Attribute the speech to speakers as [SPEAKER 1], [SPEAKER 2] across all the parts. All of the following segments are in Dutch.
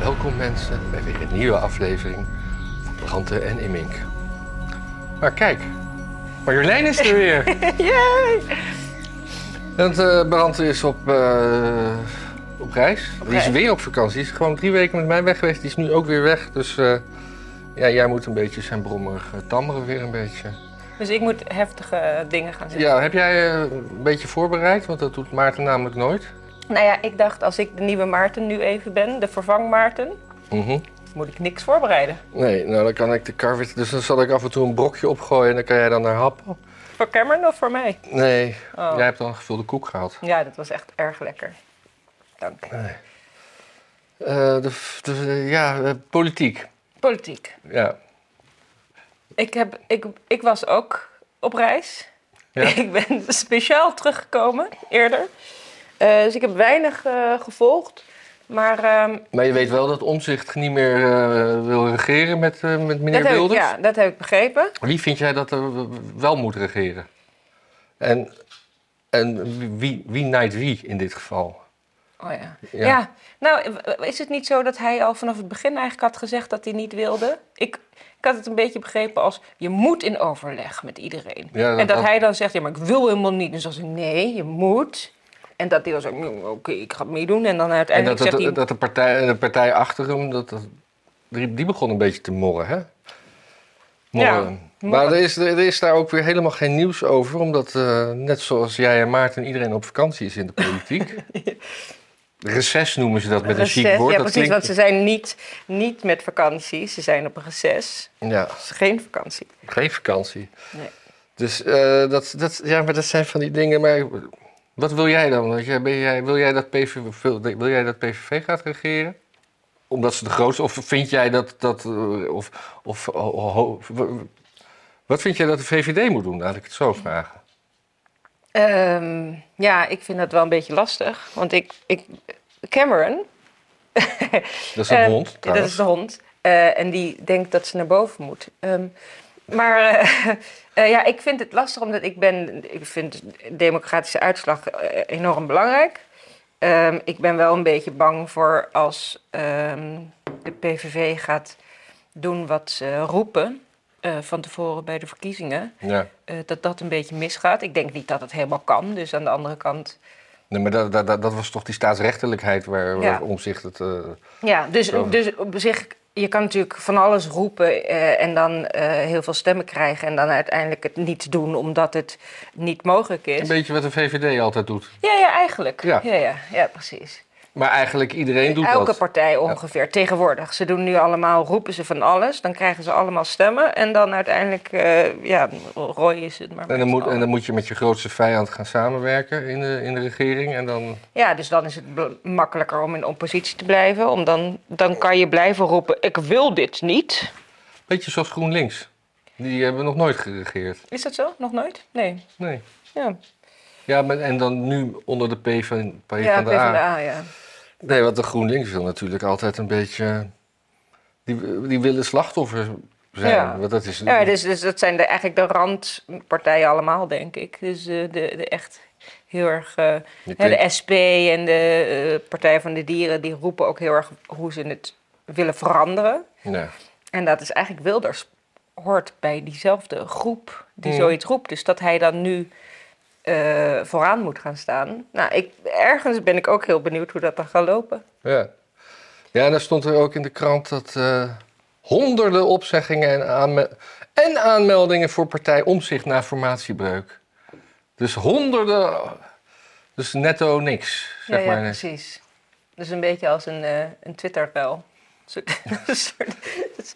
[SPEAKER 1] welkom mensen bij weer een nieuwe aflevering van Branten en Immink. Maar kijk, Marjolein is er weer.
[SPEAKER 2] Yay!
[SPEAKER 1] Want eh Branten is op, eh, op reis. Die is
[SPEAKER 2] reis.
[SPEAKER 1] weer op vakantie. Die is gewoon drie weken met mij weg geweest. Die is nu ook weer weg. Dus eh, ja, jij moet een beetje zijn brommer eh, tammeren weer een beetje.
[SPEAKER 2] Dus ik moet heftige dingen gaan zeggen.
[SPEAKER 1] Ja, heb jij eh, een beetje voorbereid? Want dat doet Maarten namelijk nooit.
[SPEAKER 2] Nou ja, ik dacht als ik de nieuwe Maarten nu even ben, de vervang Maarten,
[SPEAKER 1] Mhm.
[SPEAKER 2] moet ik niks voorbereiden.
[SPEAKER 1] Nee, nou dan kan ik de kar weer... Dus dan zal ik af en toe een brokje opgooien en dan kan jij dan naar happen.
[SPEAKER 2] Voor Cameron of voor mij?
[SPEAKER 1] Nee,
[SPEAKER 2] Oh.
[SPEAKER 1] jij hebt dan een gevulde koek gehad.
[SPEAKER 2] Ja, dat was echt erg lekker. Dank.
[SPEAKER 1] Eh, de, f- de- eh, ja, eh, politiek.
[SPEAKER 2] Politiek.
[SPEAKER 1] Ja.
[SPEAKER 2] Ik, heb, ik, ik was ook op reis.
[SPEAKER 1] Ja.
[SPEAKER 2] Ik ben speciaal teruggekomen eerder. Eh, dus ik heb weinig eh, gevolgd. Maar ehm,
[SPEAKER 1] Maar je weet wel dat Omzicht niet meer eh, wil regeren met, eh, met meneer
[SPEAKER 2] dat, heb ik,
[SPEAKER 1] Wilders.
[SPEAKER 2] ja, dat heb ik begrepen.
[SPEAKER 1] Wie vind jij dat er w- w- wel moet regeren? En, en wie- wie, wie naait wie in dit geval?
[SPEAKER 2] Oh ja.
[SPEAKER 1] Ja.
[SPEAKER 2] ja. nou w- w- is het niet zo dat hij al vanaf het begin eigenlijk had gezegd dat hij niet wilde? Ik, ik had het een beetje begrepen als je moet in overleg met iedereen.
[SPEAKER 1] Ja, dat-
[SPEAKER 2] en dat
[SPEAKER 1] dat-
[SPEAKER 2] hij dan zegt, ja, maar ik wil helemaal niet. En dan zegt hij, nee, je moet. En dat hij dan zegt, "Nou, oké, ik ga het meedoen. En dan
[SPEAKER 1] En
[SPEAKER 2] uiteindelijk
[SPEAKER 1] dat, dat,
[SPEAKER 2] zegt hij,
[SPEAKER 1] dat de, partij, de partij achter hem, dat, dat, die die begon een beetje te morren, hè? Morren.
[SPEAKER 2] Ja,
[SPEAKER 1] maar
[SPEAKER 2] morren.
[SPEAKER 1] er is, er is daar ook weer helemaal geen nieuws over, omdat eh, net zoals jij en Maarten iedereen op vakantie is in de politiek. Reces noemen ze dat met een chic
[SPEAKER 2] reces.
[SPEAKER 1] woord.
[SPEAKER 2] Ja,
[SPEAKER 1] dat
[SPEAKER 2] precies, want ze zijn niet, niet met vakantie. Ze zijn op reces.
[SPEAKER 1] Ja,
[SPEAKER 2] Het is geen vakantie.
[SPEAKER 1] geen vakantie.
[SPEAKER 2] Nee.
[SPEAKER 1] Dus eh, dat, dat, ja, maar dat zijn van die dingen. Maar wat wil jij dan? Want jij, ben jij, wil, jij dat PV, wil, wil jij dat PVV gaat regeren? Omdat ze de grootste. Of vind jij dat. dat eh, of, of, oh, oh, ho- w- w- wat vind jij dat de VVD moet doen? Laat ik het zo vragen.
[SPEAKER 2] Ehm, ja, ik vind dat wel een beetje lastig. Want ik, ik Cameron,
[SPEAKER 1] Dat is een
[SPEAKER 2] Eh,
[SPEAKER 1] hond.
[SPEAKER 2] Dat
[SPEAKER 1] Trouwens.
[SPEAKER 2] is de hond. Eh, en die denkt dat ze naar boven moet. Ehm, maar eh, eh, ja, ik vind het lastig omdat ik ben... Ik vind democratische uitslag eh, enorm belangrijk. Ehm, ik ben wel een beetje bang voor als ehm, de PVV gaat doen wat ze roepen... eh, van tevoren bij de verkiezingen,
[SPEAKER 1] Ja.
[SPEAKER 2] eh, dat dat een beetje misgaat. Ik denk niet dat het helemaal kan, dus aan de andere kant...
[SPEAKER 1] Nee, maar dat, dat, dat, dat was toch die staatsrechtelijkheid waar,
[SPEAKER 2] Ja.
[SPEAKER 1] om zich het. eh,
[SPEAKER 2] Ja, dus,
[SPEAKER 1] Zo.
[SPEAKER 2] dus op zich, je kan natuurlijk van alles roepen eh, en dan eh, heel veel stemmen krijgen en dan uiteindelijk het niet doen omdat het niet mogelijk
[SPEAKER 1] een
[SPEAKER 2] is.
[SPEAKER 1] beetje wat de VVD altijd doet.
[SPEAKER 2] Ja, ja, eigenlijk.
[SPEAKER 1] Ja.
[SPEAKER 2] Ja, ja, ja, precies.
[SPEAKER 1] Maar eigenlijk iedereen doet
[SPEAKER 2] Elke
[SPEAKER 1] dat.
[SPEAKER 2] partij ongeveer, tegenwoordig. Ze doen nu allemaal, roepen ze van alles, dan krijgen ze allemaal stemmen en dan uiteindelijk, eh, ja, rooi is het maar.
[SPEAKER 1] En dan,
[SPEAKER 2] met
[SPEAKER 1] moet,
[SPEAKER 2] z'n
[SPEAKER 1] en
[SPEAKER 2] allen.
[SPEAKER 1] dan moet je met je grootste vijand gaan samenwerken in de, in de regering. En dan,
[SPEAKER 2] Ja, dus dan is het bl- makkelijker om in oppositie te blijven, om dan, dan kan je blijven roepen, ik wil dit niet.
[SPEAKER 1] beetje zoals GroenLinks. Die hebben nog nooit geregeerd.
[SPEAKER 2] Is dat zo? Nog nooit? Nee.
[SPEAKER 1] Nee.
[SPEAKER 2] Ja,
[SPEAKER 1] Ja, maar, en dan nu onder de P van, P
[SPEAKER 2] ja
[SPEAKER 1] van de A.
[SPEAKER 2] PvdA, ja.
[SPEAKER 1] Nee, want de GroenLinks wil natuurlijk altijd een beetje... Die, die willen slachtoffer zijn.
[SPEAKER 2] Ja.
[SPEAKER 1] Want dat is...
[SPEAKER 2] Ja, dus, dus dat zijn de, eigenlijk de randpartijen allemaal, denk ik. Dus eh, de, de echt heel erg... eh,
[SPEAKER 1] Je
[SPEAKER 2] hè,
[SPEAKER 1] denkt-
[SPEAKER 2] de SP en de eh, Partij van de Dieren... die roepen ook heel erg hoe ze het willen veranderen.
[SPEAKER 1] Ja.
[SPEAKER 2] En dat is eigenlijk... Wilders hoort bij diezelfde groep die
[SPEAKER 1] Mm.
[SPEAKER 2] zoiets roept. Dus dat hij dan nu eh, vooraan moet gaan staan. Nou, ik, ergens ben ik ook heel benieuwd hoe dat dan gaat lopen.
[SPEAKER 1] Ja. ja, en dan stond er ook in de krant dat eh, honderden opzeggingen en, aanme- en aanmeldingen voor partij omzicht na formatiebreuk. Dus honderden, dus netto niks, zeg
[SPEAKER 2] ja, ja,
[SPEAKER 1] maar. eh,
[SPEAKER 2] precies. Dus een beetje als een, eh een Twitter-pijl. Een soort- een soort-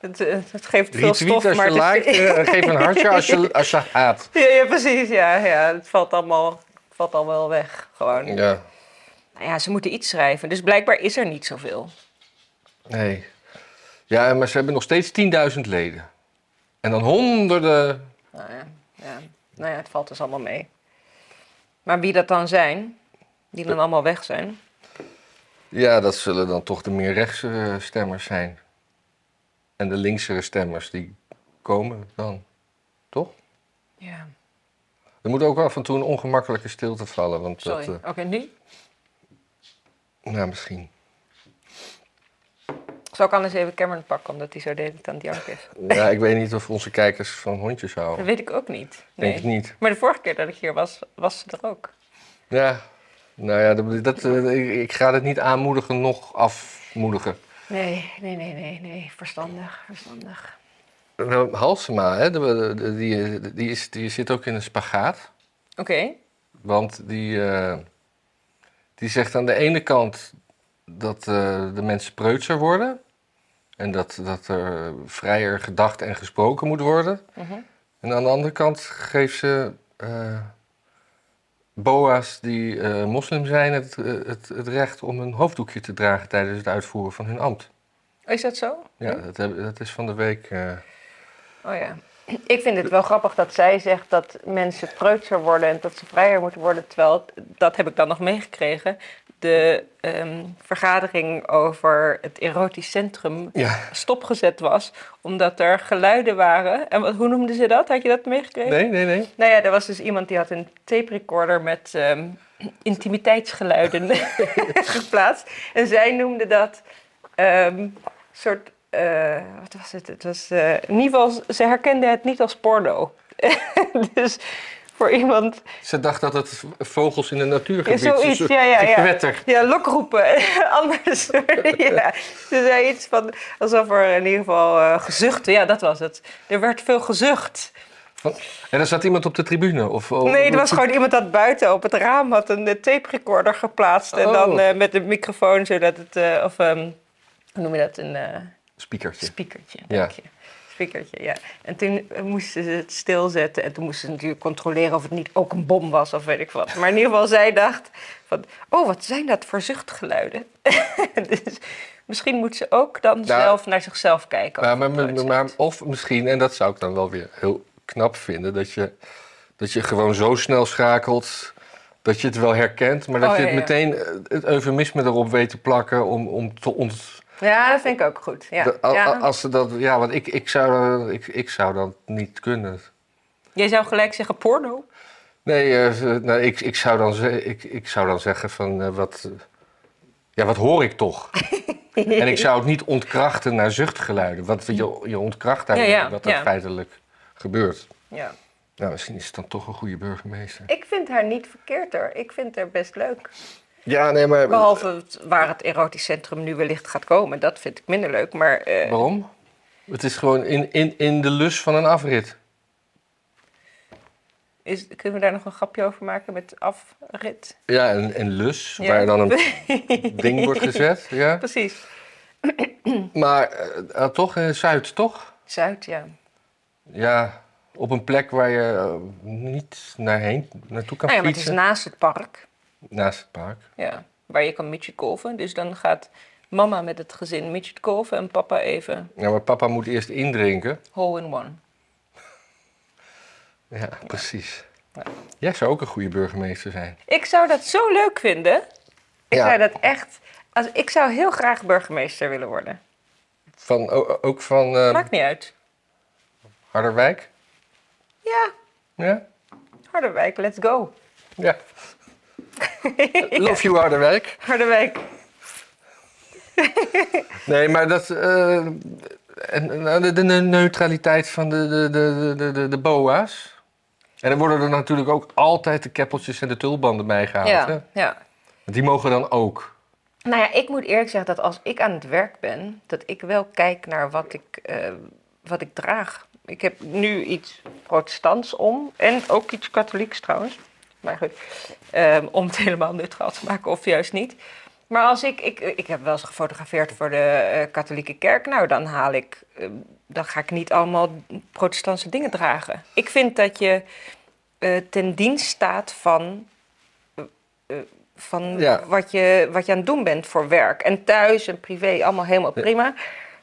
[SPEAKER 2] het, het, het geeft veel stof,
[SPEAKER 1] Retweet als
[SPEAKER 2] maar
[SPEAKER 1] je
[SPEAKER 2] het
[SPEAKER 1] liked,
[SPEAKER 2] is-
[SPEAKER 1] eh, geef een hartje als je, als je haat.
[SPEAKER 2] ja, ja, precies. Ja, ja, het valt allemaal, valt allemaal wel weg, gewoon.
[SPEAKER 1] Ja,
[SPEAKER 2] Nou ja, ze moeten iets schrijven. Dus blijkbaar is er niet zoveel.
[SPEAKER 1] nee. Ja, maar ze hebben nog steeds 10.000 leden. En dan honderden,
[SPEAKER 2] Nou ja, ja. Nou ja, het valt dus allemaal mee. Maar wie dat dan zijn, die dan allemaal weg zijn...
[SPEAKER 1] ja, dat zullen dan toch de meer rechtse eh, stemmers zijn. En de linksere stemmers, die komen dan, toch?
[SPEAKER 2] Ja,
[SPEAKER 1] Er moet ook af en toe een ongemakkelijke stilte vallen, want
[SPEAKER 2] sorry.
[SPEAKER 1] dat...
[SPEAKER 2] Oké, nu?
[SPEAKER 1] eh, nou, misschien.
[SPEAKER 2] Zal ik anders even Cameron pakken, omdat hij zo de hele tijd aan het janken is?
[SPEAKER 1] Ja, ik weet niet of onze kijkers van hondjes houden.
[SPEAKER 2] Dat weet ik ook niet.
[SPEAKER 1] Denk
[SPEAKER 2] Nee.
[SPEAKER 1] ik niet.
[SPEAKER 2] Maar de vorige keer dat ik hier was, was ze er ook.
[SPEAKER 1] Ja, nou ja, dat, dat, eh, ik, ik ga dit niet aanmoedigen, nog afmoedigen.
[SPEAKER 2] Nee, nee, nee, nee, nee. Verstandig, verstandig.
[SPEAKER 1] Nou, Halsema, hè, de- de- die, die, is, die zit ook in een spagaat.
[SPEAKER 2] Oké.
[SPEAKER 1] Want die, eh, die zegt aan de ene kant dat eh, de mensen preutser worden. En dat, dat er vrijer gedacht en gesproken moet worden.
[SPEAKER 2] Mhm.
[SPEAKER 1] En aan de andere kant geeft ze eh, boa's die eh, moslim zijn het, het, het recht om een hoofddoekje te dragen tijdens het uitvoeren van hun ambt.
[SPEAKER 2] Is dat zo?
[SPEAKER 1] Ja, dat, heb- dat is van de week. eh,
[SPEAKER 2] Oh ja. Ik vind het wel grappig dat zij zegt dat mensen preutser worden en dat ze vrijer moeten worden. Terwijl, dat heb ik dan nog meegekregen, de ehm, vergadering over het erotisch centrum
[SPEAKER 1] ja.
[SPEAKER 2] stopgezet was. Omdat er geluiden waren. En wat, hoe noemden ze dat? Had je dat meegekregen?
[SPEAKER 1] Nee, nee, nee.
[SPEAKER 2] Nou ja, er was dus iemand die had een tape recorder met ehm, intimiteitsgeluiden geplaatst. En zij noemde dat ehm soort. eh, wat was het? Het was. eh, in ieder geval, ze herkende het niet als porno. dus voor iemand.
[SPEAKER 1] Ze dacht dat het vogels in de natuur
[SPEAKER 2] Ja,
[SPEAKER 1] gebied
[SPEAKER 2] zoiets, ja, ja, ja.
[SPEAKER 1] Kwetter.
[SPEAKER 2] Ja, lokroepen. Anders. ja. Ze zei iets van. alsof er in ieder geval eh, gezucht. Ja, dat was het. Er werd veel gezucht.
[SPEAKER 1] En er zat iemand op de tribune? Of, of-
[SPEAKER 2] Nee, er was gewoon iemand dat buiten op het raam had een eh, tape recorder geplaatst. En
[SPEAKER 1] Oh.
[SPEAKER 2] dan eh, met een microfoon, zodat het. eh, of ehm, hoe noem je dat? Een eh,
[SPEAKER 1] Spiekertje.
[SPEAKER 2] speakertje.
[SPEAKER 1] Ja.
[SPEAKER 2] Dank je. Speakertje, ja. En toen eh, moesten ze het stilzetten. En toen moesten ze natuurlijk controleren of het niet ook een bom was of weet ik wat. Maar in ieder geval, zij dacht van... Oh, wat zijn dat voor zuchtgeluiden? dus misschien moet ze ook dan
[SPEAKER 1] Nou,
[SPEAKER 2] zelf naar zichzelf kijken.
[SPEAKER 1] Maar,
[SPEAKER 2] of
[SPEAKER 1] maar,
[SPEAKER 2] het
[SPEAKER 1] maar-
[SPEAKER 2] nooit
[SPEAKER 1] maar-
[SPEAKER 2] zegt.
[SPEAKER 1] of misschien, en dat zou ik dan wel weer heel knap vinden, dat je, dat je gewoon zo snel schakelt dat je het wel herkent, maar dat
[SPEAKER 2] Oh,
[SPEAKER 1] je
[SPEAKER 2] ja,
[SPEAKER 1] het
[SPEAKER 2] ja.
[SPEAKER 1] meteen eh, het eufemisme erop weet te plakken om, om te ont...
[SPEAKER 2] Ja, dat vind ik ook goed. Ja.
[SPEAKER 1] de- a-
[SPEAKER 2] ja.
[SPEAKER 1] a- Als ze dat, ja, want ik, ik, zou, eh, ik, ik zou dat niet kunnen.
[SPEAKER 2] Jij zou gelijk zeggen porno.
[SPEAKER 1] Nee, eh, ze- nou, ik, ik, zou dan ze- ik, ik zou dan zeggen van eh, wat, eh, ja, wat hoor ik toch? en ik zou het niet ontkrachten naar zuchtgeluiden. Want je, je ontkracht eigenlijk
[SPEAKER 2] Ja, ja,
[SPEAKER 1] wat er
[SPEAKER 2] ja.
[SPEAKER 1] feitelijk gebeurt.
[SPEAKER 2] Ja.
[SPEAKER 1] Nou, misschien is het dan toch een goede burgemeester.
[SPEAKER 2] Ik vind haar niet verkeerd hoor. Ik vind haar best leuk.
[SPEAKER 1] Ja, nee, maar...
[SPEAKER 2] Behalve het- waar het erotisch centrum nu wellicht gaat komen. Dat vind ik minder leuk. Maar eh,
[SPEAKER 1] Waarom? Het is gewoon in, in, in de lus van een afrit.
[SPEAKER 2] is, kunnen we daar nog een grapje over maken met afrit?
[SPEAKER 1] Ja, een, een lus
[SPEAKER 2] Ja.
[SPEAKER 1] waar dan een ding wordt gezet. Ja.
[SPEAKER 2] Precies.
[SPEAKER 1] Maar eh, ah, toch, in Zuid, toch?
[SPEAKER 2] Zuid, ja.
[SPEAKER 1] Ja, op een plek waar je eh, niet naar heen, naartoe kan
[SPEAKER 2] Nou ja, maar het is
[SPEAKER 1] fietsen.
[SPEAKER 2] naast het park.
[SPEAKER 1] Naast het park.
[SPEAKER 2] Ja, waar je kan midgetkolven. Dus dan gaat mama met het gezin midgetkolven en papa even
[SPEAKER 1] Ja, maar papa moet eerst indrinken.
[SPEAKER 2] hole in one.
[SPEAKER 1] Ja, precies. Jij zou ook een goede burgemeester zijn.
[SPEAKER 2] Ik zou dat zo leuk vinden. Ik
[SPEAKER 1] Ja.
[SPEAKER 2] zou dat echt... Als, ik zou heel graag burgemeester willen worden.
[SPEAKER 1] Van, o- ook van eh,
[SPEAKER 2] Maakt niet uit.
[SPEAKER 1] Harderwijk?
[SPEAKER 2] Ja,
[SPEAKER 1] Ja?
[SPEAKER 2] Harderwijk, let's go.
[SPEAKER 1] Ja. Love you, Harderwijk.
[SPEAKER 2] Harderwijk.
[SPEAKER 1] Nee, maar dat... eh, en, en de, de neutraliteit van de, de, de, de, de, de boa's. En dan worden er natuurlijk ook altijd de keppeltjes en de tulbanden bijgehaald. hè?
[SPEAKER 2] Ja, ja.
[SPEAKER 1] Die mogen dan ook.
[SPEAKER 2] Nou ja, ik moet eerlijk zeggen dat als ik aan het werk ben, dat ik wel kijk naar wat ik, eh, wat ik draag. Ik heb nu iets protestants om en ook iets katholieks trouwens. Maar goed, ehm, om het helemaal neutraal te maken of juist niet. Maar als ik, ik, ik heb wel eens gefotografeerd voor de eh, katholieke kerk, nou dan haal ik, ehm, dan ga ik niet allemaal protestantse dingen dragen. Ik vind dat je eh, ten dienst staat van eh, van
[SPEAKER 1] Ja.
[SPEAKER 2] wat, je, wat je aan het doen bent voor werk. En thuis en privé, allemaal helemaal prima.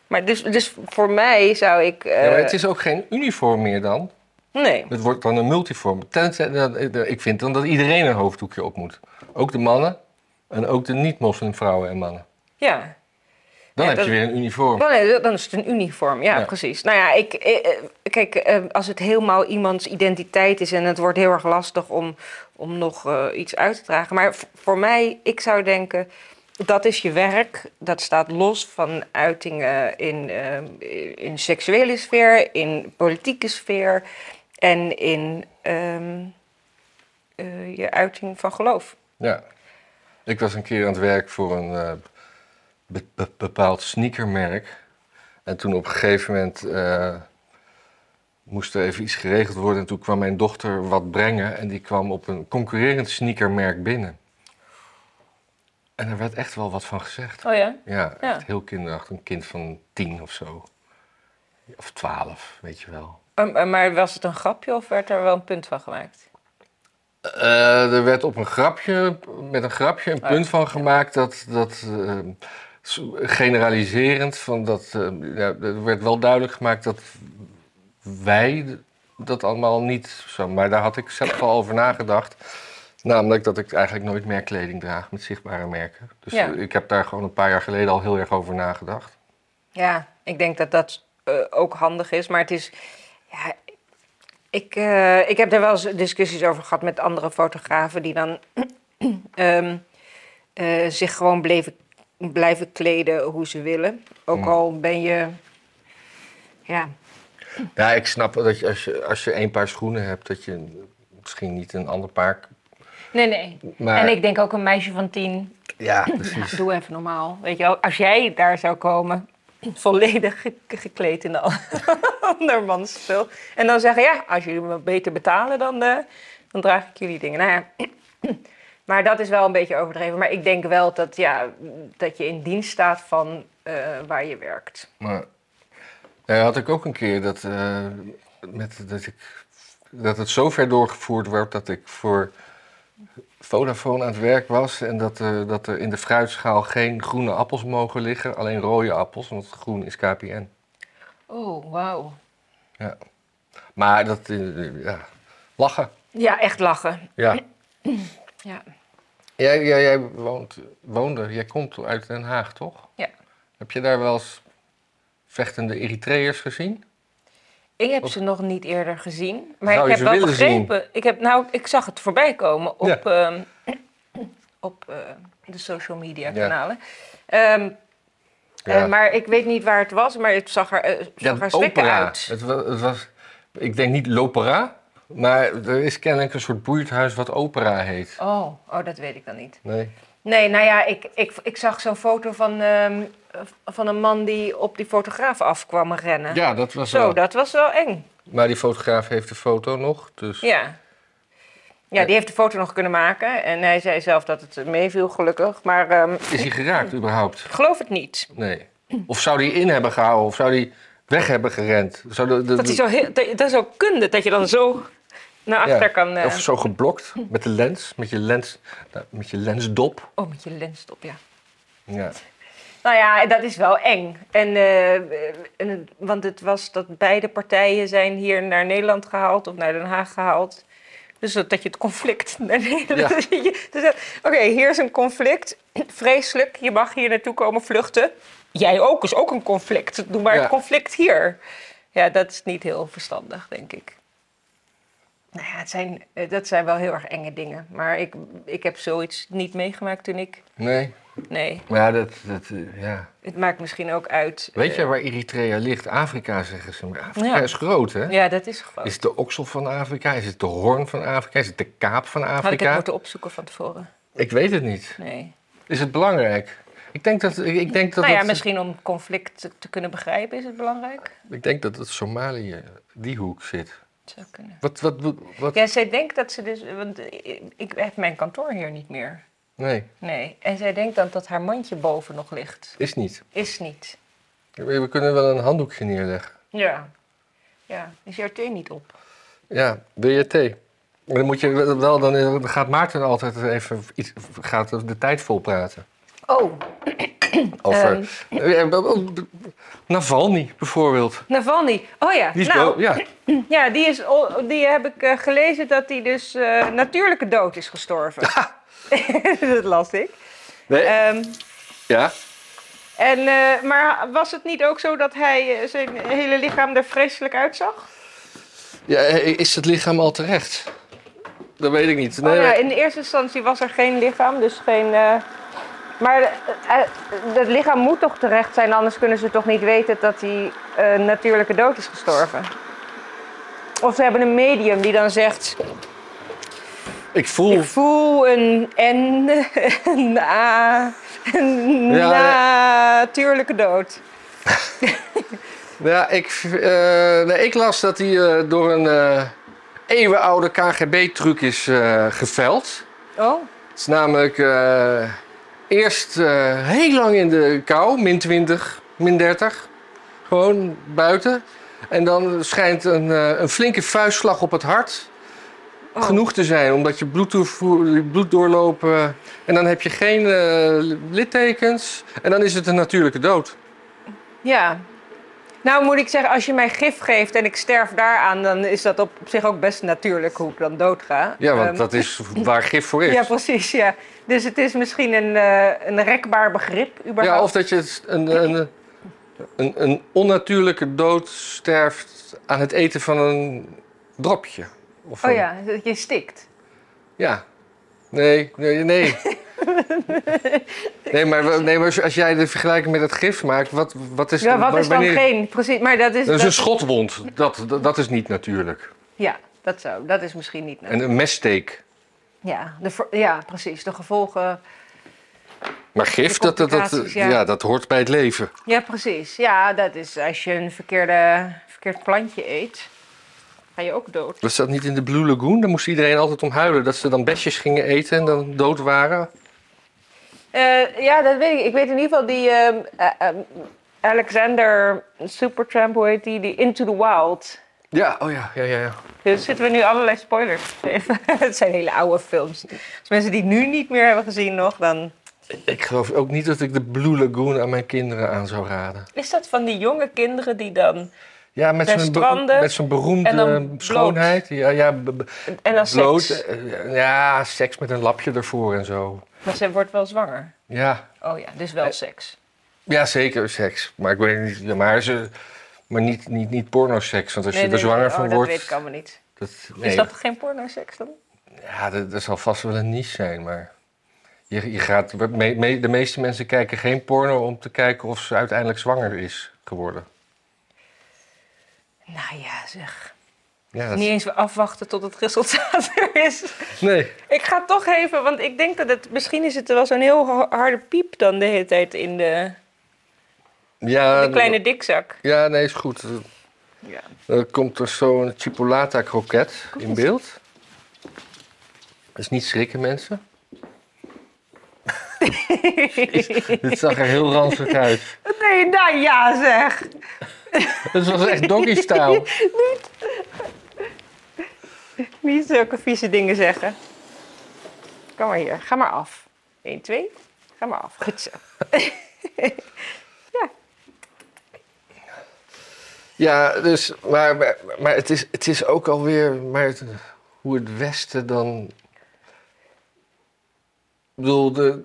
[SPEAKER 2] Maar dus, dus voor mij zou ik... eh,
[SPEAKER 1] Ja, maar het is ook geen uniform meer dan.
[SPEAKER 2] Nee,
[SPEAKER 1] Het wordt dan een multiform. Tenzij- nou, ik vind dan dat iedereen een hoofddoekje op moet. Ook de mannen en ook de niet-moslimvrouwen en mannen.
[SPEAKER 2] ja.
[SPEAKER 1] Dan
[SPEAKER 2] Ja,
[SPEAKER 1] heb
[SPEAKER 2] dat-
[SPEAKER 1] je weer een uniform.
[SPEAKER 2] Oh, nee, dan is het een uniform, ja,
[SPEAKER 1] Ja.
[SPEAKER 2] precies. Nou ja, ik, eh, eh, kijk, eh, als het helemaal iemands identiteit is... en het wordt heel erg lastig om, om nog eh, iets uit te dragen. Maar v- voor mij, ik zou denken... dat is je werk. Dat staat los van uitingen in, eh, in seksuele sfeer, in politieke sfeer en in ehm, eh, je uiting van geloof.
[SPEAKER 1] Ja. Ik was een keer aan het werk voor een eh, be- be- bepaald sneakermerk. En toen op een gegeven moment eh, moest er even iets geregeld worden. En toen kwam mijn dochter wat brengen. En die kwam op een concurrerend sneakermerk binnen. En er werd echt wel wat van gezegd.
[SPEAKER 2] Oh ja?
[SPEAKER 1] Ja,
[SPEAKER 2] Ja.
[SPEAKER 1] echt heel kinderachtig. Een kind van tien of zo. Of twaalf, weet je wel.
[SPEAKER 2] Ehm, eh, maar was het een grapje of werd er wel een punt van gemaakt?
[SPEAKER 1] Eh, er werd op een grapje, met een grapje een
[SPEAKER 2] Ah, ja.
[SPEAKER 1] punt van gemaakt dat, dat eh, s- generaliserend, van dat, eh, ja, er werd wel duidelijk gemaakt dat wij dat allemaal niet zo, maar daar had ik zelf al over nagedacht. Namelijk dat ik eigenlijk nooit meer kleding draag met zichtbare merken. Dus
[SPEAKER 2] Ja.
[SPEAKER 1] eh, ik heb daar gewoon een paar jaar geleden al heel erg over nagedacht.
[SPEAKER 2] Ja, ik denk dat dat eh, ook handig is. Maar het is. Ja, ik, eh, ik heb daar wel eens discussies over gehad met andere fotografen die dan ehm, eh, zich gewoon bleven, blijven kleden hoe ze willen. Ook
[SPEAKER 1] Mm.
[SPEAKER 2] al ben je. Ja,
[SPEAKER 1] Ja, ik snap dat je, als je als je één paar schoenen hebt, dat je misschien niet een ander paar... k-
[SPEAKER 2] nee, nee.
[SPEAKER 1] Maar
[SPEAKER 2] En ik denk ook een meisje van tien,
[SPEAKER 1] ja, precies.
[SPEAKER 2] doe even normaal. Weet je wel, als jij daar zou komen, volledig ge- gekleed in de andermans spul. En dan zeggen, ja, als jullie me beter betalen, dan, eh, dan draag ik jullie dingen. Nou ja, maar dat is wel een beetje overdreven. Maar ik denk wel dat, ja, dat je in dienst staat van eh, waar je werkt.
[SPEAKER 1] Maar nou, had ik ook een keer dat, eh, met, dat, ik, dat het zo ver doorgevoerd werd dat ik voor Vodafone aan het werk was en dat, eh, dat er in de fruitschaal geen groene appels mogen liggen, alleen rode appels, want groen is KPN.
[SPEAKER 2] Oh, wauw.
[SPEAKER 1] Maar dat, eh, ja, lachen.
[SPEAKER 2] Ja, echt lachen.
[SPEAKER 1] Ja.
[SPEAKER 2] Ja.
[SPEAKER 1] Jij, jij, jij woont, woonde, jij komt uit Den Haag, toch?
[SPEAKER 2] Ja.
[SPEAKER 1] Heb je daar wel eens vechtende Eritreërs gezien?
[SPEAKER 2] Ik heb
[SPEAKER 1] Of-
[SPEAKER 2] ze nog niet eerder gezien. Maar
[SPEAKER 1] Zou
[SPEAKER 2] ik
[SPEAKER 1] je
[SPEAKER 2] heb
[SPEAKER 1] ze
[SPEAKER 2] wel
[SPEAKER 1] willen
[SPEAKER 2] begrepen. Ik, heb, nou, ik zag het voorbij komen op,
[SPEAKER 1] Ja.
[SPEAKER 2] ehm, op eh, de social media
[SPEAKER 1] Ja.
[SPEAKER 2] kanalen. Ehm, eh, maar ik weet niet waar het was, maar het zag er, eh, het zag er schrikken uit.
[SPEAKER 1] Het wa- het was, ik denk niet l'opera, maar er is kennelijk een soort buurthuis wat opera heet.
[SPEAKER 2] Oh, oh, dat weet ik dan niet.
[SPEAKER 1] Nee.
[SPEAKER 2] Nee, nou ja, ik, ik, ik zag zo'n foto van, ehm, van een man die op die fotograaf afkwam rennen.
[SPEAKER 1] Ja, dat was
[SPEAKER 2] Zo,
[SPEAKER 1] wel.
[SPEAKER 2] dat was wel eng.
[SPEAKER 1] Maar die fotograaf heeft de foto nog, dus...
[SPEAKER 2] Ja. Ja,
[SPEAKER 1] Ja.
[SPEAKER 2] die heeft de foto nog kunnen maken. En hij zei zelf dat het meeviel, gelukkig. Maar ehm,
[SPEAKER 1] Is hij geraakt überhaupt?
[SPEAKER 2] ik geloof het niet.
[SPEAKER 1] Nee. Of zou die in hebben gehouden, of zou die weg hebben gerend? Zou de- de-
[SPEAKER 2] Dat is, zo heel, dat dat is ook kunde, dat je dan zo naar
[SPEAKER 1] Ja,
[SPEAKER 2] achter kan... eh,
[SPEAKER 1] Of zo geblokt, met de lens, met je, lens, nou, met je lensdop.
[SPEAKER 2] Oh, met je lens op, ja.
[SPEAKER 1] Ja.
[SPEAKER 2] Nou ja, dat is wel eng. En, eh, en het- want het was dat beide partijen zijn hier naar Nederland gehaald of naar Den Haag gehaald. Dus dat dat je het conflict naar Nederland...
[SPEAKER 1] Ja.
[SPEAKER 2] Dus dat- Oké, hier is een conflict. Vreselijk, je mag hier naartoe komen vluchten. Jij ook, is ook een conflict. Doe maar
[SPEAKER 1] Ja.
[SPEAKER 2] een conflict hier. Ja, dat is niet heel verstandig, denk ik. Nou ja, het zijn, eh, dat zijn wel heel erg enge dingen. Maar ik, ik heb zoiets niet meegemaakt toen ik...
[SPEAKER 1] Nee.
[SPEAKER 2] Nee,
[SPEAKER 1] Maar ja, dat, dat, eh, ja.
[SPEAKER 2] het maakt misschien ook uit...
[SPEAKER 1] Weet
[SPEAKER 2] eh,
[SPEAKER 1] je waar Eritrea ligt? Afrika, zeggen ze. Maar Afrika
[SPEAKER 2] Ja.
[SPEAKER 1] is groot, hè?
[SPEAKER 2] Ja, dat is gewoon.
[SPEAKER 1] Is het de oksel van Afrika? Is het de hoorn van Afrika? Is het de kaap van
[SPEAKER 2] Had ik het
[SPEAKER 1] Afrika? Ik,
[SPEAKER 2] moeten opzoeken van tevoren?
[SPEAKER 1] weet het niet.
[SPEAKER 2] Nee.
[SPEAKER 1] Is het belangrijk? Ik denk dat, ik, ik denk dat,
[SPEAKER 2] nou ja,
[SPEAKER 1] het,
[SPEAKER 2] misschien om conflict te, te kunnen begrijpen is het belangrijk.
[SPEAKER 1] ik denk dat het Somalië die hoek zit.
[SPEAKER 2] Het zou kunnen.
[SPEAKER 1] Wat, wat, wat,
[SPEAKER 2] Ja, zij denkt dat ze dus... Want eh, ik heb mijn kantoor hier niet meer.
[SPEAKER 1] Nee,
[SPEAKER 2] Nee. En zij denkt dan dat haar mandje boven nog ligt.
[SPEAKER 1] is niet.
[SPEAKER 2] Is niet.
[SPEAKER 1] We kunnen wel een handdoekje neerleggen.
[SPEAKER 2] Ja. Ja. Is jouw thee niet op?
[SPEAKER 1] Ja, wil je thee? Maar dan moet je wel, dan gaat Maarten altijd even iets, gaat de tijd vol praten.
[SPEAKER 2] Oh,
[SPEAKER 1] Over
[SPEAKER 2] Eh.
[SPEAKER 1] Navalny bijvoorbeeld.
[SPEAKER 2] Navalny. Oh ja.
[SPEAKER 1] Die is
[SPEAKER 2] nou,
[SPEAKER 1] wel- ja,
[SPEAKER 2] ja, die, is, al- die heb ik eh, gelezen dat hij dus eh, natuurlijke dood is gestorven. dat las ik.
[SPEAKER 1] nee,
[SPEAKER 2] Ehm,
[SPEAKER 1] ja.
[SPEAKER 2] En, eh, maar was het niet ook zo dat hij eh, zijn hele lichaam er vreselijk uitzag?
[SPEAKER 1] Ja, is het lichaam al terecht? Dat weet ik niet.
[SPEAKER 2] oh,
[SPEAKER 1] Nee,
[SPEAKER 2] ja, in de eerste instantie was er geen lichaam, dus geen. eh, Maar eh, eh, het lichaam moet toch terecht zijn, anders kunnen ze toch niet weten dat hij eh, natuurlijke dood is gestorven. Of ze hebben een medium die dan zegt:
[SPEAKER 1] Ik voel...
[SPEAKER 2] Ik voel een N, een A, een
[SPEAKER 1] Ja,
[SPEAKER 2] natuurlijke dood.
[SPEAKER 1] Ja, ik, eh, nee, ik las dat hij eh, door een eh, eeuwenoude KGB-truc is eh geveld.
[SPEAKER 2] Oh,
[SPEAKER 1] Het is namelijk eh, eerst eh, heel lang in de kou, min 20, min 30. Gewoon buiten. En dan schijnt een, eh, een flinke vuistslag op het hart
[SPEAKER 2] Oh.
[SPEAKER 1] genoeg te zijn, omdat je bloedtoevoer, bloeddoorloop. eh, en dan heb je geen eh, littekens. En dan is het een natuurlijke dood.
[SPEAKER 2] ja. Nou moet ik zeggen, als je mij gif geeft en ik sterf daaraan, dan is dat op zich ook best natuurlijk hoe ik dan doodga.
[SPEAKER 1] Ja, want
[SPEAKER 2] Ehm,
[SPEAKER 1] dat is waar gif voor is.
[SPEAKER 2] Ja, precies, ja. Dus het is misschien een, eh, een rekbaar begrip, überhaupt.
[SPEAKER 1] Ja, of dat je het- een, een, een, een onnatuurlijke dood sterft aan het eten van een dropje. Of
[SPEAKER 2] Oh
[SPEAKER 1] een-
[SPEAKER 2] ja, dat je stikt.
[SPEAKER 1] Ja. Nee, nee, nee. Nee, maar, we- nee, maar als- als jij de vergelijking met het gif maakt, wat, wat is
[SPEAKER 2] Ja,
[SPEAKER 1] dan-
[SPEAKER 2] wat is dan
[SPEAKER 1] wanneer-
[SPEAKER 2] geen? Precies, maar dat is...
[SPEAKER 1] Dat is
[SPEAKER 2] dat-
[SPEAKER 1] een schotwond. Dat, dat, dat is niet natuurlijk.
[SPEAKER 2] Ja, dat zou. Dat is misschien niet...
[SPEAKER 1] En een messteek.
[SPEAKER 2] Ja, de, ver- ja, precies. De gevolgen...
[SPEAKER 1] Maar gif, dat, dat, dat,
[SPEAKER 2] complicaties, ja.
[SPEAKER 1] ja, dat hoort bij het leven.
[SPEAKER 2] Ja, precies. Ja, dat is als je een verkeerde, verkeerd plantje eet, ga je ook dood.
[SPEAKER 1] Was dat niet in de Blue Lagoon? Daar moest iedereen altijd om huilen. Dat ze dan besjes gingen eten en dan dood waren.
[SPEAKER 2] Eh, ja, dat weet ik. Ik weet in ieder geval die ehm, eh, ehm, Alexander Supertramp, hoe heet die? Die Into the Wild.
[SPEAKER 1] Ja, oh ja, ja, ja. ja.
[SPEAKER 2] Dus zitten we nu allerlei spoilers te geven. Het zijn hele oude films. Als mensen die nu niet meer hebben gezien nog, dan...
[SPEAKER 1] Ik geloof ook niet dat ik de Blue Lagoon aan mijn kinderen aan zou raden.
[SPEAKER 2] Is dat van die jonge kinderen die dan...
[SPEAKER 1] Ja, met
[SPEAKER 2] Bij
[SPEAKER 1] zo'n be-
[SPEAKER 2] stranden
[SPEAKER 1] met zo'n beroemde
[SPEAKER 2] en dan bloot.
[SPEAKER 1] schoonheid. Ja, ja, b- b-
[SPEAKER 2] En dan
[SPEAKER 1] bloot.
[SPEAKER 2] seks?
[SPEAKER 1] eh, Ja, seks met een lapje ervoor en zo.
[SPEAKER 2] Maar ze wordt wel zwanger.
[SPEAKER 1] Ja,
[SPEAKER 2] Oh ja, dus
[SPEAKER 1] Eh,
[SPEAKER 2] wel seks.
[SPEAKER 1] ja zeker seks. Maar ik weet niet, ja, maar, ze, maar niet, niet, niet pornoseks. Want als je er zwanger
[SPEAKER 2] oh,
[SPEAKER 1] van
[SPEAKER 2] dat
[SPEAKER 1] wordt...
[SPEAKER 2] weet ik allemaal niet.
[SPEAKER 1] dat-
[SPEAKER 2] Is
[SPEAKER 1] nee.
[SPEAKER 2] dat geen porno-seks dan?
[SPEAKER 1] Ja, dat, dat zal vast wel een niche zijn, maar... Je, je gaat, me- me- de meeste mensen kijken geen porno om te kijken of ze uiteindelijk zwanger is geworden.
[SPEAKER 2] Nou ja, zeg.
[SPEAKER 1] Ja, dat-
[SPEAKER 2] Niet eens afwachten tot het resultaat er is.
[SPEAKER 1] Nee.
[SPEAKER 2] Ik ga toch even, want ik denk dat het... Misschien is het wel zo'n heel ha- harde piep dan de hele tijd in de,
[SPEAKER 1] Ja,
[SPEAKER 2] de kleine dikzak.
[SPEAKER 1] ja, nee, is goed.
[SPEAKER 2] Ja.
[SPEAKER 1] Dan Eh, komt er zo'n chipolata kroket in beeld. Dus niet schrikken, mensen. Dit zag er heel ranzig uit.
[SPEAKER 2] Nee, nou ja zeg.
[SPEAKER 1] Het was echt doggy style.
[SPEAKER 2] Niet zulke vieze dingen zeggen. Kom maar hier, ga maar af. 1, 2, ga maar af. Goed zo.
[SPEAKER 1] Ja, dus, maar, maar, maar het, is, het is ook alweer maar het- hoe het Westen dan. Ik bedoel, de,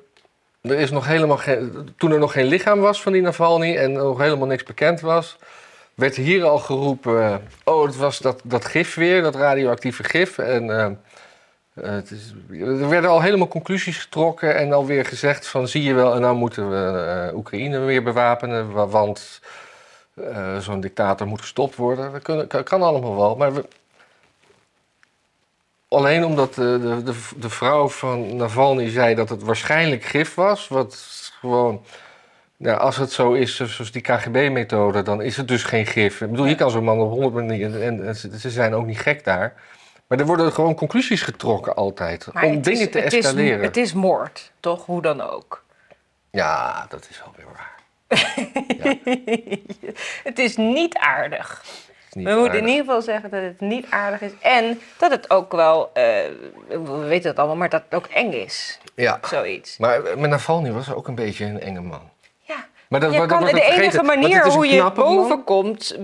[SPEAKER 1] er is nog helemaal geen. Toen er nog geen lichaam was van die Navalny en nog helemaal niks bekend was, werd hier al geroepen: eh, oh, het was dat, dat gif weer, dat radioactieve gif. En. eh, eh, het is, er werden al helemaal conclusies getrokken en alweer gezegd van zie je wel, en nou moeten we eh, Oekraïne weer bewapenen, wa- want eh, zo'n dictator moet gestopt worden. Dat kunnen- kan, kan allemaal wel. Maar we- alleen omdat de, de, de, de vrouw van Navalny zei dat het waarschijnlijk gif was. Wat gewoon. Ja, als het zo is, zo- zoals die KGB-methode, dan is het dus geen gif. Ik bedoel, je kan zo'n man op honderd manieren. En, en ze, ze zijn ook niet gek daar. Maar er worden gewoon conclusies getrokken altijd. om
[SPEAKER 2] het
[SPEAKER 1] dingen
[SPEAKER 2] is-
[SPEAKER 1] te
[SPEAKER 2] het is-
[SPEAKER 1] escaleren.
[SPEAKER 2] het is moord, toch? Hoe dan ook.
[SPEAKER 1] Ja, dat is wel weer waar.
[SPEAKER 2] Het is niet aardig.
[SPEAKER 1] Het is niet
[SPEAKER 2] We moeten
[SPEAKER 1] aardig.
[SPEAKER 2] in ieder geval zeggen dat het niet aardig is. En dat het ook wel, eh, we weten dat allemaal, maar dat het ook eng is.
[SPEAKER 1] Ja.
[SPEAKER 2] Zoiets.
[SPEAKER 1] Maar met Navalny was ook een beetje een enge man.
[SPEAKER 2] Ja.
[SPEAKER 1] Maar dat,
[SPEAKER 2] Je
[SPEAKER 1] dat-
[SPEAKER 2] kan,
[SPEAKER 1] dat-
[SPEAKER 2] de
[SPEAKER 1] dat vergeet
[SPEAKER 2] enige
[SPEAKER 1] het. Want
[SPEAKER 2] manier
[SPEAKER 1] het is
[SPEAKER 2] hoe
[SPEAKER 1] een
[SPEAKER 2] je
[SPEAKER 1] knappe man.
[SPEAKER 2] boven komt,